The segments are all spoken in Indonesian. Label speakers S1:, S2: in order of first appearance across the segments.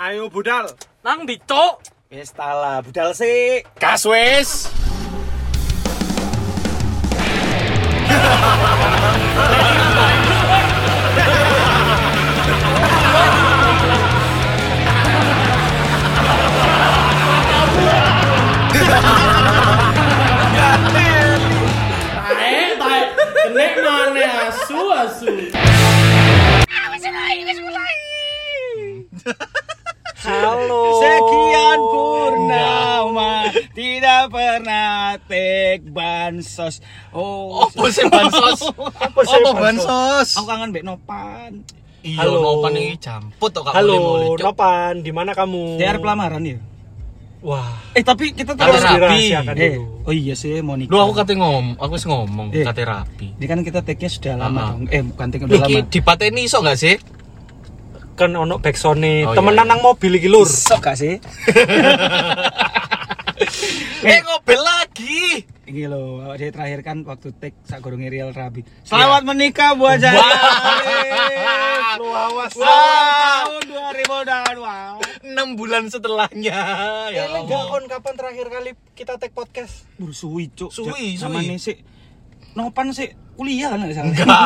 S1: Ayo budal.
S2: Nang ndi, Cuk?
S3: Wis tala, budal sik.
S4: Gas wis.
S5: Tae, tae. Kene mana asu asu.
S3: Halo. Sekian
S4: Oh, nah.
S3: purnama tidak pernah take bansos. Oh,
S4: Opo sih bansos?
S3: Apa sih
S4: Opo
S3: bansos?
S4: bansos?
S3: Aku kangen mbek Nopan.
S4: Iya,
S1: Halo.
S4: nopan iki jamput to kak
S1: Halo, Nopan, di mana kamu?
S4: Oh.
S3: DR pelamaran ya.
S1: Wah,
S3: Eh, tapi kita
S4: Kate
S1: Harus
S3: terus
S4: rapi.
S1: dirahasiakan.
S3: Eh, oh iya sih mau nikah.
S4: Lu aku kan- kate ngom, aku wis ngomong
S3: Eh.
S4: kate rapi.
S3: Ini kan kita take-nya sudah lama.
S4: Ah.
S3: dong. Eh, bukan take udah lama.
S4: Iki dipateni iso gak sih?
S1: kan ono backsone,
S4: Oh, iya,
S1: temenan
S4: iya.
S1: nang mobil iki lur.
S3: Sok gak sih?
S4: Eh, ngobel lagi.
S3: Ini loh, dia terakhir kan waktu take sak gorongnya Riel Rabi.
S4: Iya.
S3: Selamat menikah buat saya.
S4: Wah.
S1: awas.
S4: Wah.
S3: Tahun 2022.
S4: 6 bulan setelahnya. Ya
S1: Eh, Enggak on kapan terakhir kali kita take podcast?
S3: Buru suwi cuk.
S4: Suwi,
S3: Ja-
S4: suwi.
S3: zamane sik nopan sik kuliah kan salah.
S4: Enggak.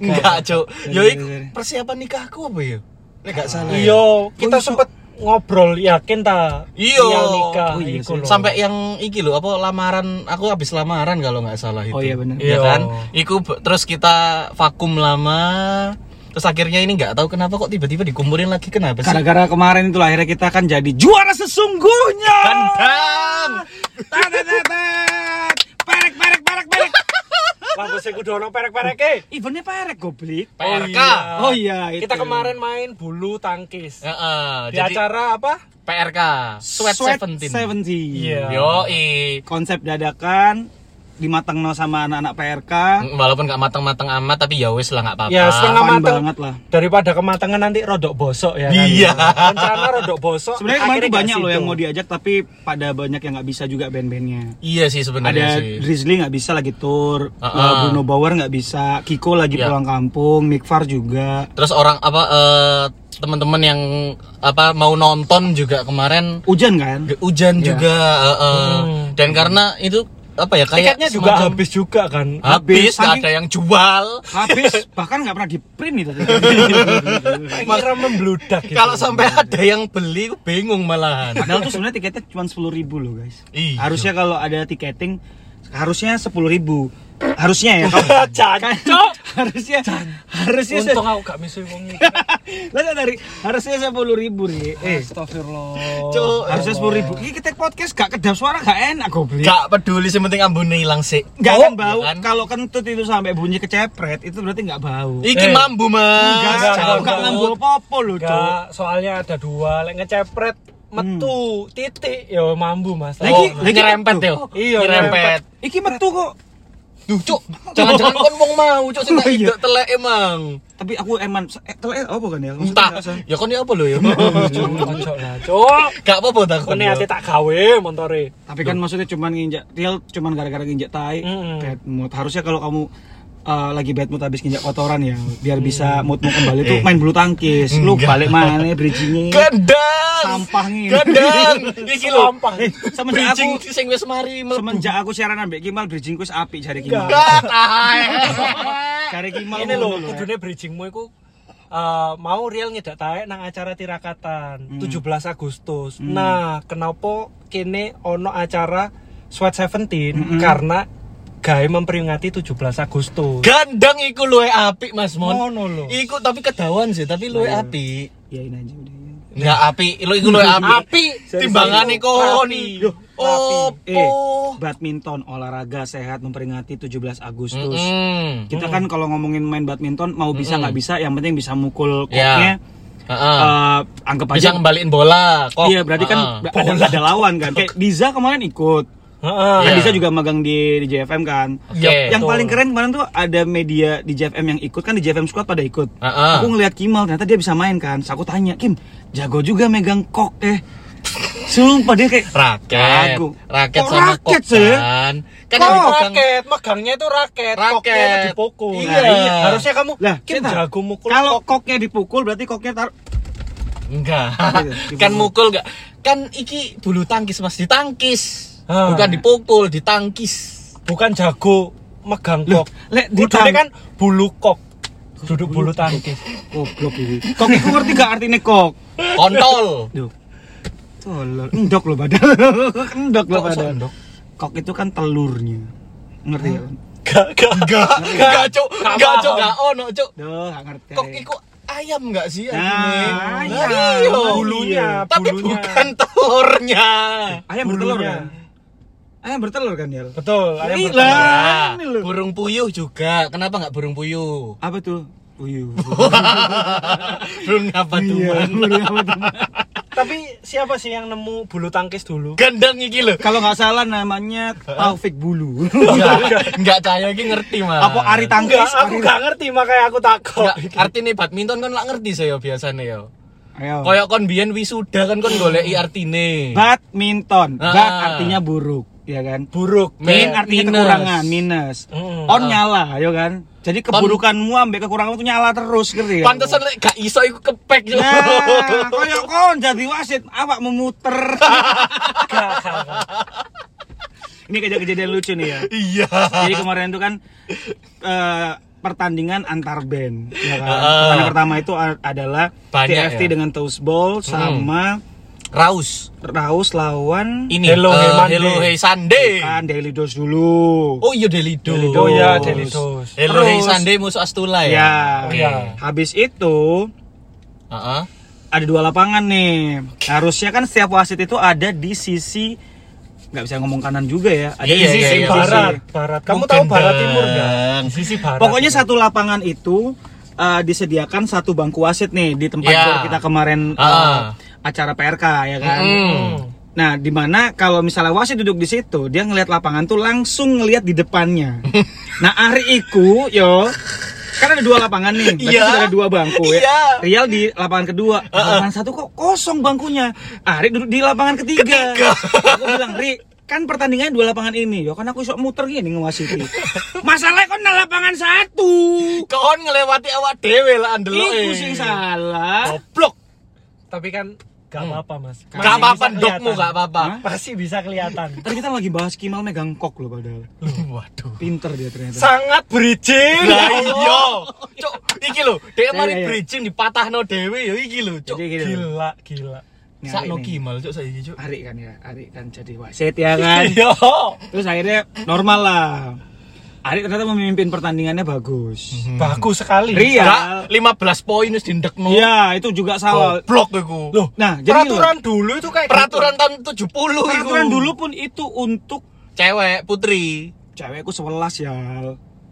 S4: Enggak, Cuk. Ya
S3: Sorry,
S4: iku
S3: sorry.
S4: persiapan nikahku apa ya? Nek gak salah. ya.
S1: Iya, kita
S3: Bungsu.
S1: sempet ngobrol yakin ta?
S4: Iya.
S1: Iya nikah
S3: Oh, iya
S1: iku
S3: sih.
S1: lho.
S4: Sampai yang iki loh apa lamaran aku habis lamaran kalau nggak salah itu.
S3: Oh, iya, bener.
S1: Iya.
S4: Iya kan? Iku b- terus kita vakum lama. Terus akhirnya ini nggak tahu kenapa kok tiba-tiba dikumpulin lagi kenapa sih?
S3: Gara-gara kemarin itu lah, akhirnya kita kan jadi juara sesungguhnya.
S4: Kan. Kandang.
S3: Tatetetet. Perek perek perek perek.
S1: Bagus sih kudu ono perek-pereke.
S3: Eventnya
S4: iya.
S3: perek goblok.
S4: PRK.
S3: Oh iya, itu. Ya,
S1: Kita kemarin main bulu tangkis.
S4: Heeh,
S1: Di
S4: jadi
S1: acara apa?
S4: PRK Sweat,
S3: Sweat
S4: 17.
S3: 17.
S1: Iya.
S4: Yoi.
S3: Konsep dadakan dimatengno sama anak-anak PRK.
S4: Walaupun nggak matang-matang amat tapi ya wis lah nggak apa-apa.
S1: Ya, setengah
S3: Fun
S1: mateng.
S3: banget lah.
S1: Daripada kematangan nanti rodok bosok ya. kan?
S4: Iya.
S1: Rencana rodok bosok.
S3: Sebenarnya kemarin
S1: akhirnya
S3: tuh banyak
S1: nggak
S3: loh yang
S1: situ.
S3: mau diajak tapi pada banyak yang nggak bisa juga band-bandnya.
S4: Iya sih sebenarnya
S3: ada
S4: sih.
S3: Drizzly nggak bisa lagi tour,
S4: Ah,
S3: uh,
S4: ah.
S3: Bruno Bauer nggak bisa, Kiko lagi
S4: Iya.
S3: pulang kampung, Mikvar juga.
S4: Terus orang apa eh, teman-teman yang apa mau nonton juga kemarin
S3: Hujan kan?
S4: ge- hujan juga eh, eh. dan karena itu apa ya kayak
S1: tiketnya juga
S4: semacam-
S1: habis juga kan.
S3: Ah.
S4: habis, nggak
S3: Saking-
S4: ada yang jual.
S3: Habis bahkan nggak pernah di print itu.
S1: Kira membludak gitu.
S4: Kalau sampai ada yang beli bingung malahan.
S3: Padahal tuh sebenarnya tiketnya cuma sepuluh ribu loh guys.
S4: Iya.
S3: Harusnya kalau ada tiketing harusnya sepuluh ribu. Harusnya ya. kalau-
S1: Jangan.
S3: harusnya harusnya se-
S1: Untung aku gak misuh wong iki.
S3: Lah nggak dari harusnya sepuluh ribu nih. Eh,
S4: Cuk,
S3: harusnya sepuluh ribu. Ini kita podcast gak kedap suara gak enak goblok.
S4: gak peduli yang penting ambune hilang sih.
S3: Gak
S4: Oh,
S3: akan bau.
S4: ya kan?
S3: Kalau kentut itu sampai bunyi kecepret, itu berarti gak bau.
S4: Iki
S1: Eh.
S4: mambu mas. Oh,
S3: Enggak,
S1: enggak,
S3: enggak, enggak
S1: enggak.
S3: ngambu apa-apa lho, Dok.
S1: Enggak, soalnya ada dua lek ngecepret metu titik ya mambu Mas.
S4: Oh,
S3: Hmm. Lagi- lagi
S4: nyerempet
S3: apa?
S4: yo.
S1: Iya,
S4: nyerempet.
S1: nyerempet.
S3: Iki metu kok.
S4: Duh, cuk, jangan-jangan kon wong mau, cuk sing tak
S3: Oh, iya.
S4: idek telek emang.
S3: Tapi aku emang eh, telek apa kan ya? Maksudnya
S4: Entah.
S3: nggak usah.
S4: Ya kon ya apa lho ya?
S1: Oh, Ojo lah, Cuk.
S4: Gak apa-apa tak kon.
S1: Kene
S4: ya.
S1: ate tak gawe montore.
S3: Tapi kan maksudnya cuman nginjak real cuman gara-gara nginjak tai,
S1: Mm-mm.
S3: bad mood. Harusnya kalau kamu eh, lagi bad mood habis nginjak kotoran ya, biar bisa moodmu kembali tuh
S4: Mm. Eh.
S3: main bulu tangkis. Lu
S4: Enggak.
S3: balik mana bridgingnya?
S4: Gendang.
S3: Sampah nih.
S4: Gendang. Iki lho.
S1: Sampah.
S3: Eh, semenjak aku
S4: Bridging sing wis mari mlebu.
S3: semenjak aku siaran ambek Kimal bridgingku wis apik jari Kimal.
S1: Enggak.
S4: Ah, tahan.
S3: Jari Kimal
S1: Ini lho,
S3: ngono lho.
S1: kudune bridgingmu iku eh, mau real nyedak taek nang acara tirakatan 17 Agustus. Nah, kenapa kene ono acara Sweat 17 karena gawe memperingati 17 Agustus.
S4: Gendang iku luwe apik Mas Mon.
S1: Ngono lho.
S4: Iku tapi kedawan sih, tapi luwe
S3: Iya.
S4: apik.
S3: Iyain Ya, aja udah.
S4: Enggak apik, lu iku luwe apik.
S1: Api
S4: Timbangane kon.
S3: Eh,
S4: Opo.
S3: badminton olahraga sehat memperingati 17 Agustus.
S4: Mm.
S3: Kita kan kalau ngomongin main badminton mau bisa nggak bisa, yang penting bisa
S4: Ya.
S3: mukul koknya.
S4: Heeh.
S3: Eh, anggap
S4: Bisa Ah.
S3: aja
S4: ngembaliin bola. Kok.
S3: Iya, berarti kan
S4: Heeh.
S3: ada, ada lawan kan. Kayak Diza kemarin ikut.
S1: Heeh.
S3: Kan
S4: Iya.
S3: Diza juga magang di di JFM kan.
S4: Oke.
S3: Yang
S1: Betul.
S3: paling keren kemarin tuh ada media di JFM yang ikut kan di JFM Squad pada ikut.
S4: Heeh.
S3: Aku ngelihat Kimal ternyata dia bisa main kan. Terus aku tanya, "Kim, jago juga megang kok eh." Sumpah dia kayak
S4: raket
S3: Jago.
S4: raket
S3: Kok
S4: sama
S3: raket
S4: kok
S3: sih?
S4: kan
S1: Kan
S4: kan yang dipegang-
S1: raket, megangnya itu raket,
S4: Raket.
S1: koknya itu dipukul.
S4: Iya.
S1: Nah, Harusnya kamu
S3: Lah,
S1: Kim
S3: kita-
S1: jago mukul
S3: kalau
S1: kok.
S3: koknya dipukul berarti koknya taruh
S4: Enggak.
S3: Gitu,
S4: kan
S3: dipukul.
S4: mukul enggak. Kan iki bulu tangkis Mas, ditangkis.
S1: Ah.
S4: Bukan dipukul, ditangkis.
S1: bukan jago megang
S3: Loh,
S1: kok.
S3: lek
S1: Kudune
S3: ditang-
S1: kan bulu kok. Duduk bulu tangkis.
S3: Goblok ini. Kok iku ngerti gak artine kok?
S4: Kontol.
S3: Duh. Tolol, endok lo padahal. endok lo
S4: Kok iso
S3: padahal.
S4: endok?
S3: Kok itu kan telurnya. Ngerti ya?
S1: Gak gak gak
S4: Enggak, Cuk. Enggak, Cuk. Enggak ono, Cuk.
S3: Duh, gak ngerti.
S4: Kok iku ayam enggak sih
S3: Nah,
S4: artine?
S3: ayam.
S4: Lah, iya.
S1: Bulunya,
S4: Tapi
S1: bulunya.
S4: bukan telurnya.
S3: Ayam bertelur
S1: Bulunya.
S3: kan? Ayam bertelur kan, Yel?
S1: Betul, ayam
S3: Ini
S1: bertelur.
S3: lah.
S4: Nah,
S3: ini loh.
S4: burung puyuh juga. Kenapa enggak burung puyuh?
S3: Apa tuh? Oh, iya. Uyuh.
S4: burung apa tuh?
S3: Iya,
S4: Man?
S3: burung apa tuh? Man?
S1: Tapi siapa sih yang nemu bulu tangkis dulu?
S4: Gendang iki lho.
S3: Kalau nggak salah namanya Taufik Bulu.
S4: Enggak, enggak cahaya iki ngerti, Mas.
S3: Iya. Apa Ari Tangkis?
S1: Enggak, aku
S3: Ari-
S1: gak ngerti makanya aku takut.
S4: Enggak, artine badminton kan lak ngerti saya biasanya ya.
S3: Ayo.
S4: Kayak kon biyen wisuda kan kon goleki artine.
S3: Badminton.
S4: Ah.
S3: Bat artinya buruk, ya kan?
S1: Buruk.
S4: Iya,
S3: Min
S4: Kayak
S3: artinya
S4: minus.
S3: kekurangan, minus.
S1: Mm,
S3: On nyala, ya kan? Jadi keburukanmu ambek kekuranganmu tuh nyala terus, ngerti ya?
S4: Pantesan lek gak iso iku kepek yo.
S3: Nah, koyok kon jadi wasit, awak memuter. Ini kayak kejadian lucu nih ya.
S4: Iya.
S3: Jadi kemarin itu kan eh, pertandingan antar band. Ya kan?
S4: Heeh.
S3: Pertandingan pertama itu a- adalah
S4: Banyak
S3: TFT
S4: ya?
S3: dengan Toast Bowl sama
S4: Raus.
S3: Raus lawan
S4: Ini
S1: Hello,
S4: eh,
S1: Hey Monday.
S4: Hello, Hey Sunday.
S3: kan Daily Dose dulu.
S4: Oh iya Delido.
S3: Delido.
S1: Oh ya,
S3: Terus.
S1: Deli Dos.
S4: Hello Hey
S3: Terus.
S4: Sunday musuh Astula ya.
S3: Ya.
S4: Oke.
S1: Ya.
S3: Habis itu
S4: Heeh.
S3: ada dua lapangan nih. Harusnya kan setiap wasit itu ada di sisi nggak bisa ngomong kanan juga ya. Ada
S4: Iya,
S3: di
S4: iya,
S3: sisi
S4: iya.
S3: barat.
S1: Barat, barat. Kamu
S4: Bukan
S1: tahu barat
S4: dong.
S1: timur enggak? Sisi barat.
S3: Pokoknya satu lapangan itu eh, disediakan satu bangku wasit nih di tempat
S4: Ya.
S3: gor kita kemarin eh,
S4: Ah.
S3: acara PRK ya kan.
S4: Mm.
S3: Nah, di mana kalau misalnya wasit duduk di situ, dia ngelihat lapangan tuh langsung ngelihat di depannya. nah, Ari iku yo kan ada dua lapangan nih, berarti
S4: Iya.
S3: sudah ada dua bangku ya.
S4: Iya.
S3: Rial di lapangan kedua, lapangan satu kok kosong bangkunya. Ari duduk di lapangan ketiga. aku bilang, "Ri, kan pertandingannya dua lapangan ini, yo kan aku sok muter gini ngewasiti. Masalahnya kan nang lapangan satu.
S4: Kon ngelewati awak dhewe lah andelok.
S3: Iku
S1: eh.
S3: sing
S1: Oh.
S3: salah.
S4: Goblok.
S1: tapi kan gak apa-apa, Mas. Masih
S4: Gak Hmm. apa-apa
S1: Kan bisa
S4: dokmu
S1: kelihatan.
S4: gak apa-apa. Hmm.
S1: Masih bisa kelihatan.
S3: Tadi kita lagi bahas Kimal megang kok loh padahal.
S4: Waduh.
S3: Pinter dia ternyata.
S1: Sangat berijing.
S4: Lah iya. Cuk, iki lho, dhek mari
S3: iya, iya.
S4: bridging dipatahno dhewe ya iki lho, cuk.
S3: Jadi gini loh.
S1: Gila, gila.
S3: Nih,
S4: Sakno
S3: Ari nih.
S4: kimal cuk saiki cuk. Iya.
S3: Ari kan ya, Ari kan jadi wasit ya kan.
S1: Yo.
S3: Terus akhirnya normal lah. Ari ternyata memimpin pertandingannya
S1: Mhm.
S4: Hmm.
S3: bagus.
S1: Bagus sekali.
S3: Ria,
S4: Gak, 15 poin wis dindekno.
S3: iya itu juga salah.
S4: Goblok iku.
S1: Loh,
S3: Nah, jadi
S1: Oh. peraturan dulu itu kayak
S4: peraturan
S1: gitu.
S4: tahun 70 iku.
S3: peraturan dulu pun itu untuk
S4: cewek putri.
S3: cewekku 11 ya.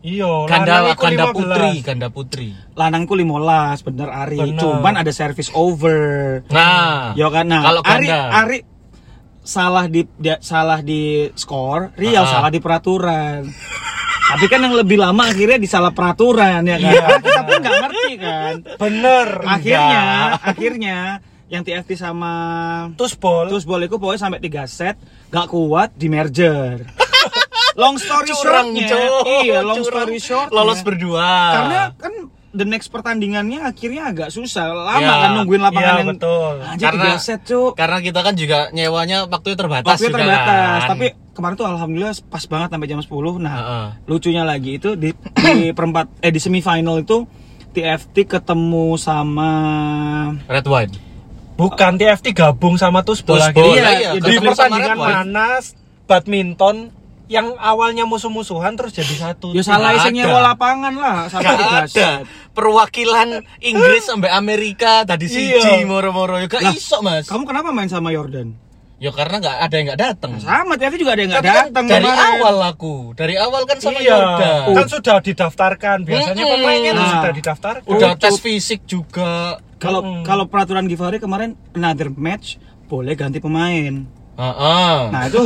S1: Iya, lanang
S4: Ganda
S1: iku
S4: ganda
S1: 15.
S4: putri, ganda putri.
S3: Lanangku 15, bener Ari.
S1: Bener.
S3: Cuman ada service over.
S4: Nah,
S3: Ya kan nah,
S4: kalau
S3: Ari
S4: ganda.
S3: Ari salah di dia- salah di skor, Rial
S4: Ah.
S3: salah di peraturan. Tapi kan yang lebih lama akhirnya disalah peraturan ya kan.
S1: Iya.
S3: Kita pun nggak ngerti kan.
S1: Bener.
S3: akhirnya akhirnya yang TFT sama
S1: Terus bol.
S3: terus boleh ku pokoknya sampai 3 set gak kuat di merger long story
S4: curang
S3: shortnya
S4: Cuk.
S3: iya long
S4: Curang.
S3: story short
S4: lolos berdua.
S3: karena kan the next pertandingannya akhirnya agak susah lama
S4: Iya.
S3: kan nungguin lapangan
S1: Iya,
S3: yang
S1: betul.
S3: anjir
S4: Karena-
S3: 3 set cuk
S4: karena kita kan juga nyewanya waktunya terbatas
S3: waktunya
S4: juga
S3: terbatas
S4: kan.
S3: tapi kemarin tuh alhamdulillah pas banget sampai jam 10 nah
S4: Heeh.
S3: lucunya lagi itu di, di perempat eh di semifinal itu TFT ketemu sama
S4: red wine.
S1: Bukan TFT gabung sama gitu Tusbol
S4: Tusbol,
S1: akhirnya.
S3: iya,
S4: iya,
S3: di
S1: Di
S4: ketemu sama
S1: pertandingan
S4: Red Wine.
S1: mana badminton yang awalnya musuh-musuhan terus jadi satu.
S3: Ya salah
S4: Nggak
S3: iseng
S4: ada.
S3: nyewa lapangan lah
S4: Gak
S3: sampai
S4: ada
S3: digaset.
S4: perwakilan Inggris sampai Amerika tadi siji
S1: Iya.
S4: moro-moro ya gak
S3: Lah,
S4: iso mas
S3: Kamu kenapa main sama Jordan?
S4: ya karena gak ada yang gak datang
S3: Sama TFT ya, juga ada yang nggak
S4: Tapi kan
S3: datang
S4: dari
S3: kemarin.
S4: awal aku dari awal kan sama
S1: iya.
S4: Yordan
S1: Kan sudah didaftarkan. Biasanya
S4: Mm-mm.
S1: pemainnya tuh
S3: Nah.
S1: sudah didaftarkan.
S4: udah
S3: Ucup.
S4: tes fisik juga
S3: Kalau
S4: Hmm.
S1: Mm-mm.
S3: kalau peraturan Givari kemarin another match boleh ganti pemain.
S4: Heeh.
S3: Nah itu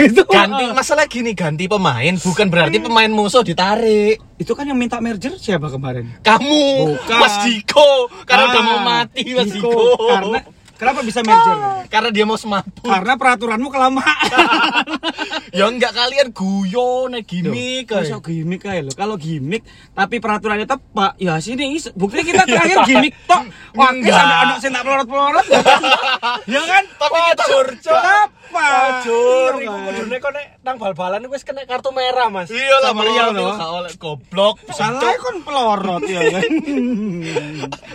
S3: itu
S4: ganti masalah gini ganti pemain bukan berarti pemain musuh ditarik
S3: itu kan yang minta merger siapa kemarin?
S4: kamu
S3: Bukan.
S4: Mas Diko karena
S3: Ah,
S4: udah mau mati Mas Ah. Diko,
S3: Diko. Karena Kenapa bisa merger?
S4: Karena dia mau semaput.
S3: Karena peraturanmu kelamaan.
S4: ya enggak kalian guyon nek gimmick
S3: Masa
S4: kayak.
S3: gimmick aja loh. Kalau gimmick tapi peraturannya tepat, ya sini is- buktinya kita terakhir gimmick tok. Wah,
S4: Enggak.
S3: sampai anak sing tak pelorot-pelorot. ya kan?
S4: Tapi kita
S3: Tepat.
S1: Jur,
S3: Iya
S1: iku
S3: kan?
S1: kudune kok nek nang bal-balan iku wis kena kartu merah, Mas.
S4: Iya lah,
S3: Sama
S4: malah
S3: iya
S4: iya
S3: loh.
S4: oleh goblok.
S3: Salah kan pelorot ya kan.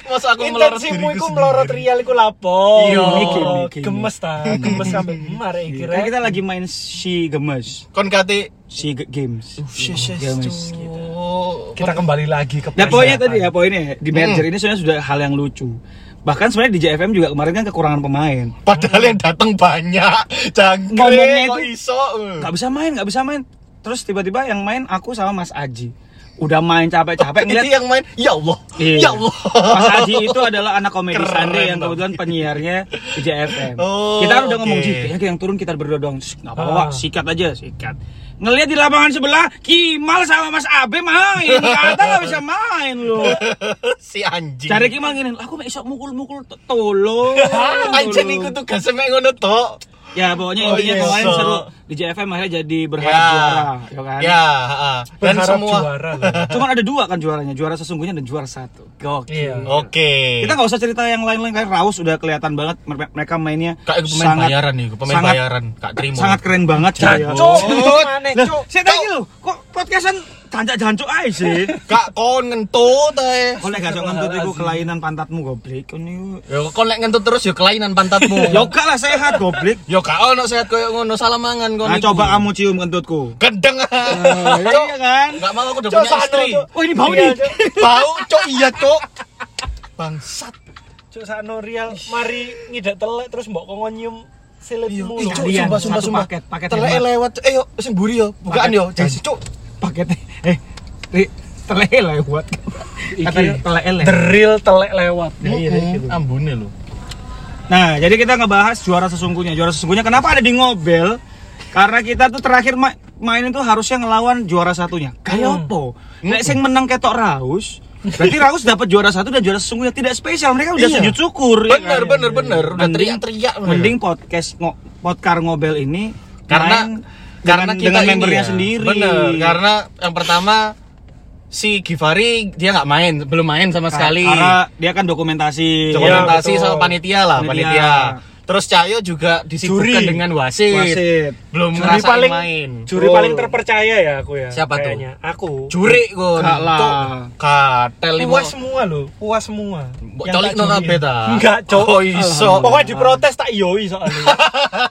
S4: Masa aku melorot
S1: Intensimu
S4: diriku
S1: iku
S4: sendiri?
S1: melorot real iku lapo.
S4: Iya.
S1: Iki,
S3: iki.
S1: iki. gemes ta, gemes eh, sampe mare iki
S3: Kan
S1: rek.
S3: kita lagi main si gemes,
S4: Kon kate
S3: si Ge- games. Iya, gitu.
S4: Gemes.
S1: Kita kembali lagi ke
S3: Nah poinnya
S1: persiapan.
S3: tadi ya poinnya di merger ini sebenarnya sudah hal yang lucu. Bahkan sebenarnya di JFM juga kemarin kan kekurangan pemain.
S4: Padahal yang datang banyak,
S3: Ngomongnya
S4: jangkrik kok
S3: itu-
S4: iso. eh.
S3: Gak bisa main, gak bisa main. Terus tiba-tiba yang main aku sama Mas Aji. Udah main capek-capek ngeliat
S4: Itu yang main, ya Allah,
S3: Iya.
S4: ya Allah.
S3: Mas Aji itu adalah anak komedi
S4: Keren,
S3: Sande yang
S4: Bang.
S3: kebetulan penyiarnya di JFM.
S4: Oh,
S3: kita udah ngomong
S4: oke.
S3: Ji, kayaknya yang turun kita berdua doang. Terus, Nggak apa-apa,
S1: Ah.
S3: sikat aja, sikat. Ngelihat di lapangan sebelah, Kimal sama Mas Abe main. Kata nggak bisa main loh.
S4: si anjing. Ah,
S3: Cari Kimal gini, aku mah isok mukul-mukul to- tolong.
S4: anjing iku tugasnya mek ngono tok.
S3: Ya pokoknya
S4: Oh,
S3: intinya
S4: iya,
S3: kemarin
S4: so.
S3: seru di JFM akhirnya jadi berharap juara, ya kan?
S4: Ya, ha. dan
S1: Berharap
S4: semua.
S1: juara loh.
S3: Cuman ada dua kan juaranya, juara sesungguhnya dan juara satu. Gokil.
S1: Iya.
S4: Oke.
S3: Kita nggak usah cerita yang lain-lain kayak Raus udah kelihatan banget mer- mereka mainnya
S4: Kak itu pemain bayaran nih, pemain
S3: sangat-
S4: bayaran, Kak Trimo.
S3: sangat keren banget cuy. ya.
S1: Jancuk,
S4: Oh.
S1: maneh,
S3: Lah,
S1: cuk.
S3: saya tanya lo, kok podcastan jancuk jancuk aja sih?
S4: Kak kon eh. ngentut ae.
S3: Kau lagi gak ngentut itu kelainan pantatmu goblok. Kau nih-
S4: Ya kon lek ngentut terus ya kelainan pantatmu.
S3: Yo gak Ya lah sehat goblok.
S4: Yo gak ono sehat koyo ngono, salah mangan kon.
S3: Nah
S4: iku.
S3: coba kamu cium kentutku.
S4: gendeng.
S3: Ah, Iya kan?
S4: Enggak mau aku udah
S1: Cuk,
S4: punya
S1: sana,
S4: istri.
S1: Cuk.
S3: Oh ini bau
S1: Iya,
S3: nih.
S1: Cuk.
S4: Bau cok iya cok. Bangsat.
S1: Cuk sakno real mari ngidak telek terus mbok kon nyium silitmu. lho.
S4: Ih, Iya. cuk,
S3: Kalian,
S4: sumpah sumpah
S3: satu
S4: sumpah.
S3: paket, paket
S4: Teleke
S3: hemat.
S4: lewat. Eh yo sing mburi yo, bukaan yo.
S3: Paket.
S4: Jangan cok.
S3: Paketnya. Eh, Ri, telek lewat. Katanya telek lewat.
S1: The real telek lewat. Iya, iya, gitu.
S4: Ambune lho.
S3: Nah, jadi kita ngebahas juara sesungguhnya. Juara sesungguhnya kenapa ada di ngobel? Karena kita tuh terakhir ma- main itu harusnya ngelawan juara satunya.
S4: Hmm.
S3: Kayak opo? Nek sing menang ketok Raus, berarti Raus dapat juara satu dan juara sesungguhnya tidak spesial. Mereka udah
S4: Iya.
S3: sujud syukur. ya
S4: Bener
S3: kan?
S4: bener bener. Udah
S3: Mending-
S4: teriak-teriak. bener.
S3: Mending podcast ngo- podkar ngobel ini
S4: karena
S3: main
S4: karena
S3: dengan-
S4: kita
S3: dengan
S4: ini
S3: membernya
S4: ya.
S3: sendiri.
S4: Bener, karena yang pertama si Givari dia nggak main, belum main sama sekali.
S3: Ah, Karena dia kan dokumentasi.
S4: Dokumentasi
S1: Iya, betul.
S4: sama panitia lah,
S3: Panitia.
S4: panitia. Terus Cahyo juga
S1: Juri.
S4: disibukkan dengan wasit.
S3: Wasit.
S4: Belum
S1: Juri
S4: ngerasain
S1: paling
S4: main.
S1: juri
S3: Betul.
S1: paling terpercaya ya aku ya.
S4: Siapa tuh?
S1: kayaknya. Aku.
S4: Juri kon.
S3: Gak lah.
S4: Tuh, Katel lima.
S1: Puas semua loh, puas semua.
S4: Mbok
S1: Yang
S4: colik
S1: tak
S4: no
S1: juriin.
S4: kabeh ta?
S1: Enggak, Cok.
S4: Oh, iso.
S1: Pokoknya diprotes tak yoi soalnya.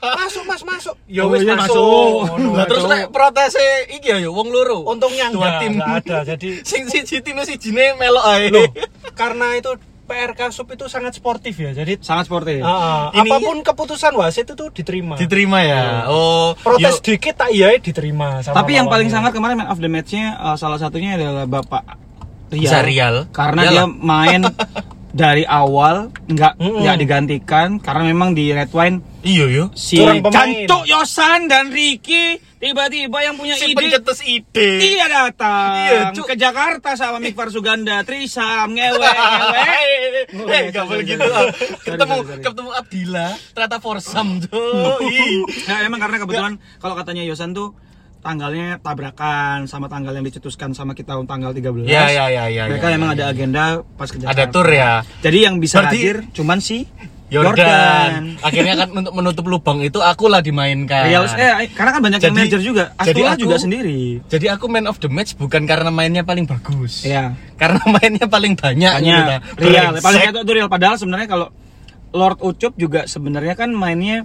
S1: masuk, Mas, masuk. Ya
S3: Oh,
S1: wis
S3: iya,
S1: masuk.
S3: masuk.
S1: Ngono
S4: Lah
S1: ae,
S4: terus
S1: Cok.
S4: nek protese iki ya yo wong loro.
S1: untungnya
S4: Dua
S1: enggak,
S4: tim.
S1: enggak ada. Jadi
S4: Sing siji tim siji jine melok ae.
S1: loh, karena itu PRK Sup itu sangat sportif ya. Jadi
S3: sangat sportif.
S1: ah,
S4: Iya. Ini-
S1: apapun keputusan wasit itu diterima.
S4: Diterima ya. Oh,
S1: Protes
S4: yo-
S1: dikit tak iya diterima sama
S3: Tapi yang paling
S1: lawannya.
S3: sangar kemarin man of the match-nya eh, salah satunya adalah Bapak Rial.
S4: Zarial.
S3: Karena
S4: Iyalah.
S3: dia main dari awal nggak
S1: Mm-mm.
S3: nggak digantikan karena memang di Red Wine
S4: Iya yo.
S3: si
S1: Kurang pemain.
S3: Cantuk Yosan dan Ricky tiba-tiba yang punya
S4: si
S3: ide
S4: pencetus ide.
S3: Iya datang
S4: Iya, Cuk.
S3: ke Jakarta sama Mikvar Suganda, Trisam, ngewe, ngewe.
S4: Eh, enggak boleh gitu. ah. Ketemu
S3: sorry.
S4: ketemu Abdillah, ternyata forsam, Cuk. Ih.
S3: Nah, emang karena kebetulan kalau katanya Yosan tuh tanggalnya tabrakan sama tanggal yang dicetuskan sama kita tanggal 13.
S4: Ya, ya, ya, ya,
S3: Mereka
S4: ya,
S3: emang
S4: ya,
S3: ada
S4: ya.
S3: agenda pas ke Jakarta.
S4: Ada tur ya.
S3: Jadi yang bisa
S4: Berarti-
S3: hadir cuman si
S4: Yordan.
S3: Jordan.
S4: Akhirnya kan untuk menutup lubang itu akulah dimainkan.
S3: Riau- eh, karena kan banyak
S4: Iya.
S3: yang
S4: Jadi-
S3: manajer juga.
S4: jadi
S3: Astula
S4: aku-
S3: juga sendiri.
S4: Jadi aku man of the match bukan karena mainnya paling bagus.
S3: Iya.
S4: Karena mainnya paling banyak.
S3: Tanya
S4: gitu,
S3: Rial,
S4: Brengsek.
S3: paling itu Rial padahal sebenarnya kalau Lord Ucup juga sebenarnya kan mainnya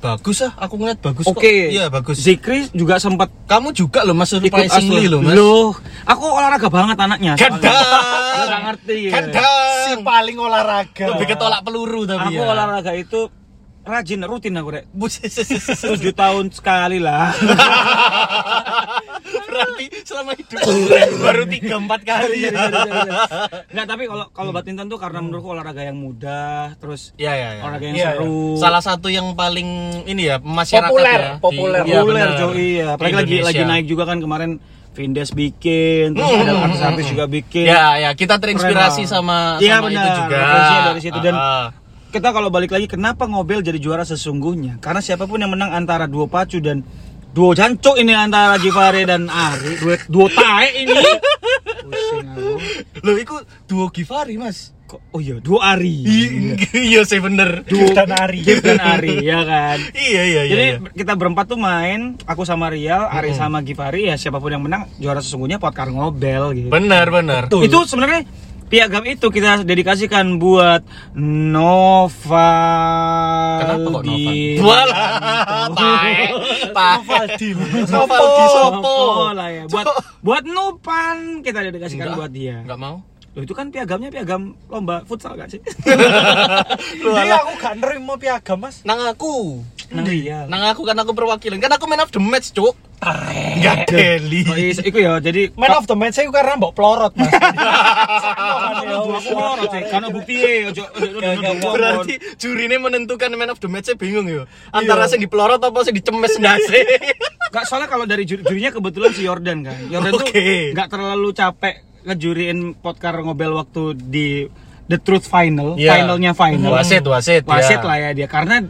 S4: bagus ah, aku ngeliat bagus kok.
S3: oke.
S4: Iya, bagus.
S3: Zikri juga sempat
S4: Kamu juga loh Mas
S3: ikut
S4: surprisingly
S3: Astula.
S4: loh Mas. Kan
S3: Loh, aku olahraga banget anaknya. soalnya.
S4: Gendang.
S3: Aku nggak ngerti. ya.
S4: Kan Gendang.
S1: si paling olahraga.
S4: Lebih ketolak peluru tapi
S3: Aku
S4: ya.
S3: olahraga itu rajin rutin aku rek.
S4: Buset.
S3: 7 tahun sekali lah.
S4: Berarti selama hidup gue baru 3 4 kali. ya.
S3: Iya. Nggak, tapi kalau
S4: Hmm.
S3: kalau badminton tuh karena menurutku olahraga yang mudah, terus
S4: Ya ya ya.
S3: olahraga yang
S1: Iya,
S3: seru.
S4: Salah satu yang paling ini ya masyarakat
S1: Populer,
S4: ya,
S1: populer.
S4: iya,
S3: Populer,
S4: benar.
S3: coy, iya. Apalagi
S4: Di
S3: lagi lagi
S4: Indonesia.
S3: naik juga kan kemarin Vindes bikin, terus
S4: Mm,
S3: ada
S4: mm,
S3: artis-artis
S4: mm,
S3: juga
S4: mm.
S3: bikin.
S4: Ya ya kita terinspirasi
S3: Keren lah.
S4: sama
S3: Iya,
S4: sama
S3: benar.
S4: itu juga.
S3: Referensinya dari situ. Dan
S4: Ah, ah.
S3: kita kalau balik lagi kenapa ngobel jadi juara sesungguhnya? Karena siapapun yang menang antara duo pacu dan duo jancok ini antara Jivare dan Ari, duo, duo tae ini. Pusing aku.
S4: Loh, itu duo Givari, Mas.
S3: Kok- Oh iya, duo Ari.
S4: Iya sih bener.
S1: Gif dan Ari.
S3: Gif dan Ari, ya kan.
S4: Iya, iya, iya.
S3: Jadi
S4: iya.
S3: kita berempat tuh main, aku sama Rial, Ari sama Givari ya siapapun yang menang juara sesungguhnya Potkar ngobel gitu.
S4: Bener, bener.
S1: Betul.
S3: Itu sebenarnya piagam itu kita dedikasikan buat Nova.
S4: Kenapa kok Nova?
S3: di-
S4: Walah, tae. Tae.
S1: Valdi.
S4: Novaldi Sopo.
S3: Sopo lah ya. Buat buat Nopan kita dedikasikan
S4: Enggak,
S3: buat dia.
S4: Enggak mau.
S3: Loh itu kan piagamnya piagam lomba futsal gak sih?
S1: Dia aku gak nerima piagam mas.
S4: Nang aku.
S3: Nang Rial.
S4: Nang aku kan aku perwakilan. Kan aku man of the match, Cuk. Enggak Deli.
S3: Oh, iya, iku ya. Jadi
S1: Man of the match saya karena mbok pelorot mas. Nah,
S3: Karena bu- aku melorot, Cek. Karena bukti ya, ojo ojo- ojo- ojo- ojo-
S4: Iya, Berarti juri ini menentukan man of the match bingung ya. Antara
S3: Iya.
S4: sing dipelorot apa sing dicemes ndase.
S3: Gak soalnya kalau dari juri, jurinya kebetulan si Jordan kan. Jordan
S4: Oke.
S3: tuh gak terlalu capek ngejuriin podcar ngobel waktu di The Truth Final,
S4: Iya.
S3: finalnya final.
S4: Wasit, wasit,
S3: Wasit
S4: ya.
S3: lah ya dia karena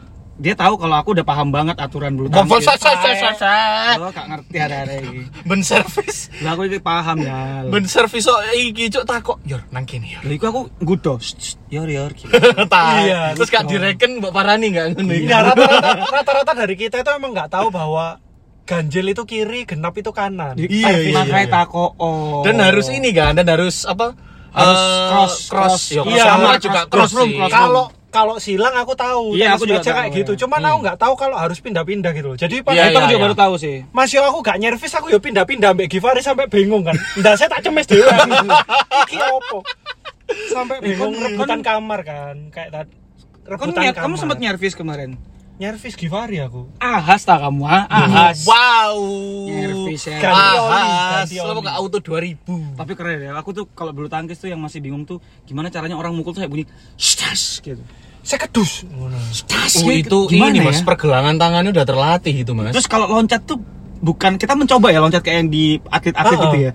S3: dia tahu kalau aku udah paham banget aturan bulu
S4: Kompon
S3: tangkis.
S4: sa sa sa sa. sa.
S3: Oh, gak ngerti ada-ada ini.
S4: Ben service.
S3: Lah aku iki paham ya.
S4: Ben service kok iki cuk takok. Yor, nang kene yor.
S3: Lah iku aku gudo. Shh, shh, Yor yor. gitu.
S4: Tae.
S1: Iya,
S4: Terus gak direken Mbak Parani enggak ngono
S3: Iya.
S4: iki.
S1: Nah rata-rata rata-rata dari kita itu emang nggak tahu bahwa ganjil itu kiri, genap itu kanan.
S4: Iya, iya,
S3: Makanya
S4: iya.
S3: tako. oh.
S4: Dan harus ini kan, dan harus apa?
S3: Harus
S4: eh,
S3: cross,
S4: cross,
S3: cross.
S4: Ya, cross
S1: Iya,
S4: sama
S1: cross,
S4: juga
S3: cross,
S4: cross,
S3: room,
S4: sih. Iya.
S3: cross room.
S1: Kalau kalau silang aku tahu, tenis
S3: Iya, aku juga
S1: meja
S3: tahu,
S1: kayak gitu.
S3: iya.
S1: Cuman aku nggak tahu kalau harus pindah-pindah gitu loh. Jadi pas
S4: Iya,
S3: Nah, Itu aku
S4: iya,
S3: juga
S4: iya.
S3: baru tahu sih.
S1: Mas yo aku gak nyervis aku yo pindah-pindah ambek Givari sampai bingung kan. Ndak saya tak cemes dhewe. Iki opo?
S4: Eh,
S1: Sampai bingung
S3: Kon-
S1: rebutan
S3: kon-
S1: kamar kan. Kayak tadi
S3: Kamu,
S1: rebutan
S3: nyer-
S1: kamar.
S3: kamu sempat nyervis kemarin.
S1: nyervis Givari aku.
S3: Ahas tak kamu, ah?
S4: Mhm.
S3: ahas.
S4: Wow.
S3: Nyervis ya.
S1: Ganti oli,
S4: Ahas.
S1: ganti
S4: Lo
S1: oli.
S4: gak auto 2000.
S3: Tapi keren ya. Aku tuh kalau bulu tangkis tuh yang masih bingung tuh gimana caranya orang mukul tuh kayak bunyi stas gitu.
S1: Saya kedus. Ngono.
S3: Stas
S4: Oh,
S3: gitu.
S4: itu ini mas pergelangan tangannya udah terlatih itu mas.
S3: Terus kalau loncat tuh bukan kita mencoba ya loncat kayak yang di atlet-atlet
S1: Ah,
S3: gitu ya.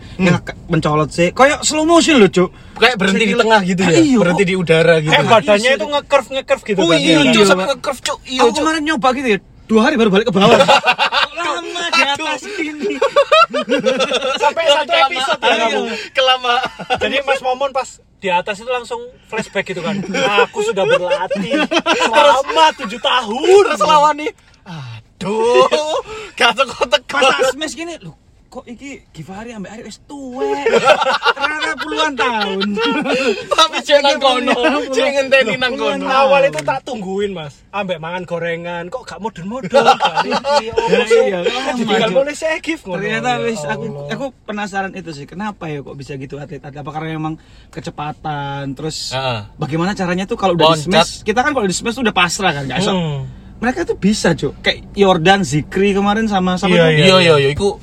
S4: Hmm.
S3: Yang ke- mencolot sih. Kayak slow motion loh, Cuk.
S4: kayak berhenti di tengah gitu ya,
S3: Iya.
S4: berhenti di udara gitu.
S1: Eh badannya itu nge-curve nge-curve gitu
S4: Oh
S1: kan.
S4: iya,
S1: ya kan?
S4: cuk
S3: iya,
S4: sampai
S3: Pak.
S4: nge-curve cuk. Iya,
S3: Aku
S4: cuk.
S3: kemarin nyoba gitu ya. Dua hari baru balik ke bawah. Lama di atas ini.
S1: Sampai satu episode
S4: Iya,
S1: ya kamu.
S4: Kelama.
S1: Jadi Mas Momon pas di atas itu langsung flashback gitu kan. Aku sudah berlatih selama 7 tahun.
S4: Terus lawan nih. Aduh. Gak teko-teko.
S3: Pas tak smash gini, loh kok iki Givari ambek Ari wis tuwek. Ternyata puluhan tahun.
S4: Tapi
S1: Iya,
S4: jangan kono. Jangan ngenteni nang kono.
S1: Awal itu tak tungguin mas, ambek mangan gorengan, kok gak modern modern kan?
S3: Iya,
S1: Tinggal boleh saya give ngono. Ya
S3: Ternyata wis aku
S1: Allah.
S3: aku penasaran itu sih kenapa ya kok bisa gitu atlet atlet apa karena memang kecepatan terus
S4: Heeh.
S3: bagaimana caranya tuh kalau udah di
S4: Loncat.
S3: smash kita kan kalau di smash tuh udah pasrah kan nggak esok.
S1: Hmm.
S3: mereka tuh bisa cuy kayak Jordan Zikri kemarin sama sama
S1: Iya,
S3: tuh-
S4: Iya iya iya iku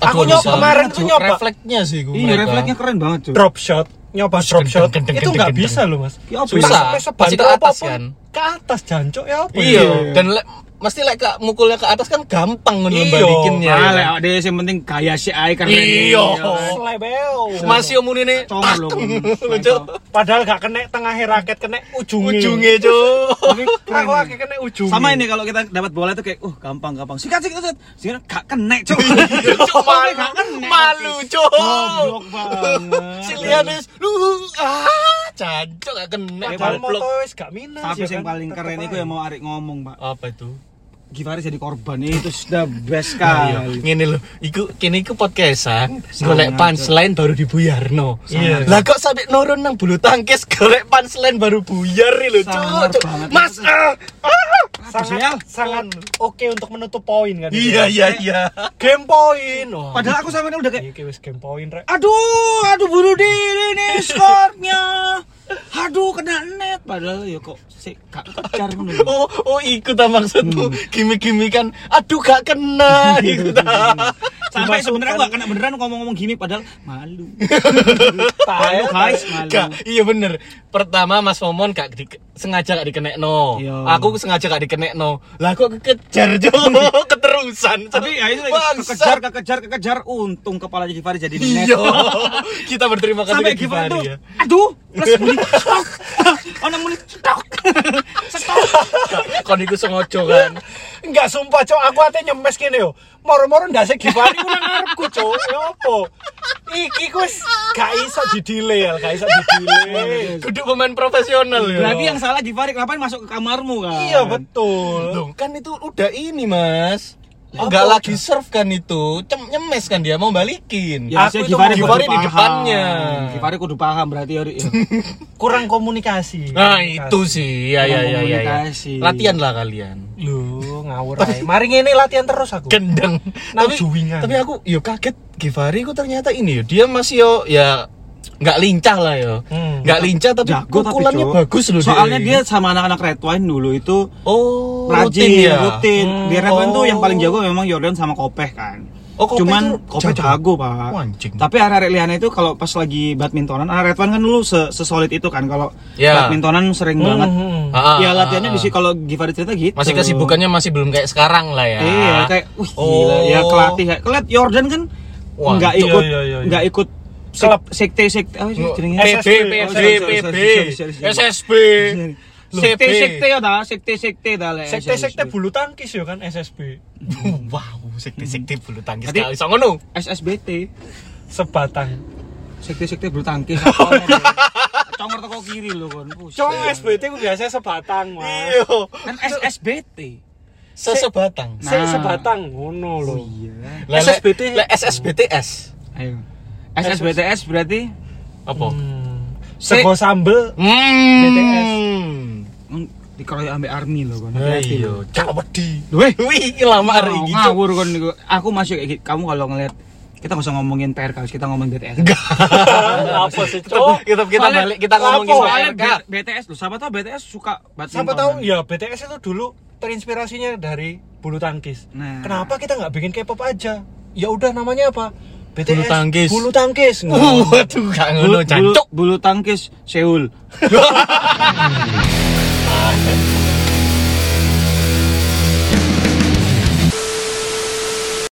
S1: Aku
S4: aduh,
S1: nyoba
S4: bisa.
S1: kemarin tuh nyoba.
S4: Refleksnya sih iku.
S3: iya
S4: mereka.
S3: refleksnya keren banget cuy
S1: Drop shot, nyoba drop
S4: Gendeng,
S1: shot,
S4: gendeng,
S1: itu
S4: gendeng,
S1: nggak
S4: gendeng.
S1: bisa loh mas.
S3: Ya, apa
S4: Susah,
S1: Sampai
S4: pasti ke
S1: sebanter
S4: atas
S1: apapun,
S4: kan.
S1: Ke atas jancok ya apa?
S4: Iya,
S3: Iya.
S4: dan lek mesti lek ke- mukulnya ke atas kan gampang ngono
S1: Iya.
S4: balikinnya.
S3: Ah, lek ada yang penting gaya si Ai kan. keren
S4: Iya.
S1: Oh, Slebel.
S4: Masih omune ne
S3: comor loh
S4: Cuk.
S1: Padahal gak kena tengahnya raket, kena ujungnya.
S4: ujungnya cuk.
S3: keren.
S1: Aku akhirnya kena ujungnya.
S3: sama ini kalau kita dapat bola tuh kayak uh gampang gampang sikat sikat sikat sikat gak kena cuy Iya,
S4: Cuk, malu,
S3: Gak kena.
S4: malu cuk.
S3: Goblok banget.
S4: Si Lianis, lu ah, cancok gak kena
S1: Padahal
S4: goblok.
S1: moto wis gak minus. ya
S3: Tapi yang
S1: kan?
S3: paling keren
S1: Tetep
S3: itu ya
S1: aja.
S3: yang mau Arik ngomong, Pak.
S4: Apa itu?
S3: Givari jadi korban itu sudah best
S4: Iya,
S3: sekali.
S4: ngene lho, iku kene iku podcastan
S3: Sangat,
S4: golek punchline baru dibuyarno.
S3: Iya.
S1: Sangat.
S4: Lah kok sampe nurun nang bulu tangkis golek punchline baru buyar nih lho,
S3: Sangar
S4: cuk.
S3: banget.
S4: Mas. ah, ah.
S1: sangat sangat oke untuk menutup poin kan itu kan?
S4: Iya, iya, iya. Oh,
S1: game point Wah,
S3: Padahal aku sama dia udah kayak
S1: iki Iya, wis game point rek
S3: aduh, aduh bunuh diri nih skornya. Aduh kena net padahal ya kok sik gak kejar ngono. lho.
S4: Oh, oh ikut ta
S3: Hmm.
S4: maksudmu. Gimik-gimikan. Aduh gak kena iku ta.
S3: Sampai sebenarnya aku gak kena beneran ngomong-ngomong gini padahal malu.
S1: tahu
S3: Malu guys, malu.
S4: Gak, iya bener. Pertama Mas Momon gak di, sengaja gak dikenekno.
S3: Iya.
S4: Aku sengaja gak dikenekno. Lah kok kekejar jo keterusan. Cuk.
S3: Tapi ya itu lagi
S4: Bangsat.
S3: kekejar, kekejar, kekejar. Untung kepalanya Givari jadi net.
S4: Iya. Kita berterima kasih
S3: Sampai
S4: ke
S3: Givari ya. Oh,
S4: Givari
S3: tuh,
S4: ya.
S3: aduh, plus bunyi. ono muni stok. Stok.
S4: kon iku sengaja kan
S1: Enggak sumpah cok, aku ate nyemes kene yo. Moro-moro ndase Givari ku nang ngarepku cok. Ya opo? Iki ku wis gak iso didile ya, gak iso didile.
S4: duduk pemain profesional ya
S3: Berarti yang salah di Farik ngapain masuk ke kamarmu kan?
S1: Iya betul.
S4: Loh, kan itu udah ini mas Enggak lagi serve kan itu Cem nyemes kan dia mau balikin
S3: Ya,
S1: Aku
S3: aku
S1: itu
S3: itu
S1: mau
S4: Givari di depannya.
S3: Givari kudu paham berarti ya. Rik, ya.
S1: Kurang komunikasi.
S4: Nah itu sih ya ya ya, ya, ya.
S3: Komunikasi.
S4: Latihan lah kalian
S1: Loh, ngawur ae. Mari ngene latihan terus aku.
S4: gendeng
S1: Nah,
S4: tapi
S1: juwingan.
S4: tapi aku yo kaget Givari ku ternyata ini yo dia masih yo ya nggak lincah lah yo
S1: Hmm.
S4: nggak lincah tapi
S3: Jago tapi,
S4: pukulannya
S3: Cok.
S4: bagus loh
S3: Soalnya dia sama anak-anak Red Wine dulu itu
S4: oh
S3: rajin
S4: rutin ya
S3: rutin. Di Red Wine tuh
S4: Oh.
S3: yang paling jago memang Jordan sama Kopeh kan.
S4: Oh, Kopeh
S3: Cuman
S4: itu
S3: Kopeh
S4: jago.
S3: jago, Pak.
S4: Wah, anjing.
S3: Tapi arek-arek liane itu kalau pas lagi badmintonan, arek Red Wine kan dulu se- sesolid itu kan kalau
S4: Ya.
S3: badmintonan sering banget.
S1: Hmm.
S4: Ah, ah,
S3: ya
S4: ah,
S3: latihannya
S4: ah.
S3: di sini kalau Givari cerita gitu.
S4: masih kesibukannya masih belum kayak sekarang lah ya
S3: Iya, kayak wih gila
S4: Oh.
S3: ya kelatih. kayak- Keliat Jordan kan
S4: Wah,
S3: nggak
S1: iya,
S3: ikut
S1: iya, iya, iya.
S3: nggak ikut sek-
S1: Klub.
S3: sekte sekte apa sih jenengnya?
S1: Eh,
S4: PB,
S1: SSB,
S4: PB,
S3: Oh, sorry, sorry,
S4: PB,
S3: sorry, sorry, sorry.
S4: SSB,
S3: Sekte sekte ya dah, sekte sekte dah lah.
S1: Sekte-sekte bulu tangkis yo kan SSB.
S4: Wow, sekte-sekte bulu tangkis
S3: Tadi-
S4: gak bisa ngono.
S3: SSBT,
S1: Sebatang.
S3: sekte sekte bulu tangkis. apaan ya? Congor toko kiri lo kon. Buset.
S1: Cong SBT ku biasanya sebatang, Mas.
S4: Iya,
S3: Kan SSBT.
S4: sesebatang.
S1: Se-
S3: Nah.
S1: sebatang ngono
S4: Oh.
S1: lho.
S3: Iya.
S4: Lele-
S1: SSBT.
S4: le- SSBTS.
S3: Ayo. SSBTS berarti
S4: Apa?
S1: Hmm.
S3: Se-
S1: Sego sambel
S4: Hmm.
S1: BTS.
S3: mm, dikeroyok ambek army lo kon.
S4: Lah
S3: Hati-hati
S4: Iya,
S3: lo.
S4: cak wedi.
S3: Weh.
S4: Wih, iki lama hari
S3: Ngaw-
S4: iki. Cok.
S3: ngawur kon niku. Aku masuk kayak gitu. kamu kalau ngeliat kita nggak usah ngomongin PR kalau kita ngomongin BTS.
S1: apa sih, Cok?
S4: gitu. Kita kita
S3: Soalnya-
S4: balik kita
S1: Lapo,
S4: ngomongin soal
S3: Soalnya
S4: RK.
S3: B- BTS lo, siapa tau BTS suka kan. badminton.
S1: Siapa tahu ya BTS itu dulu terinspirasinya dari bulu tangkis.
S3: Nah.
S1: Kenapa kita nggak bikin K-pop aja? Ya udah namanya apa? BTS
S4: Bulu tangkis.
S1: Bulu tangkis.
S4: Uh, Waduh, gak ngono
S3: bulu, bulu,
S4: jancuk.
S3: bulu tangkis Seoul.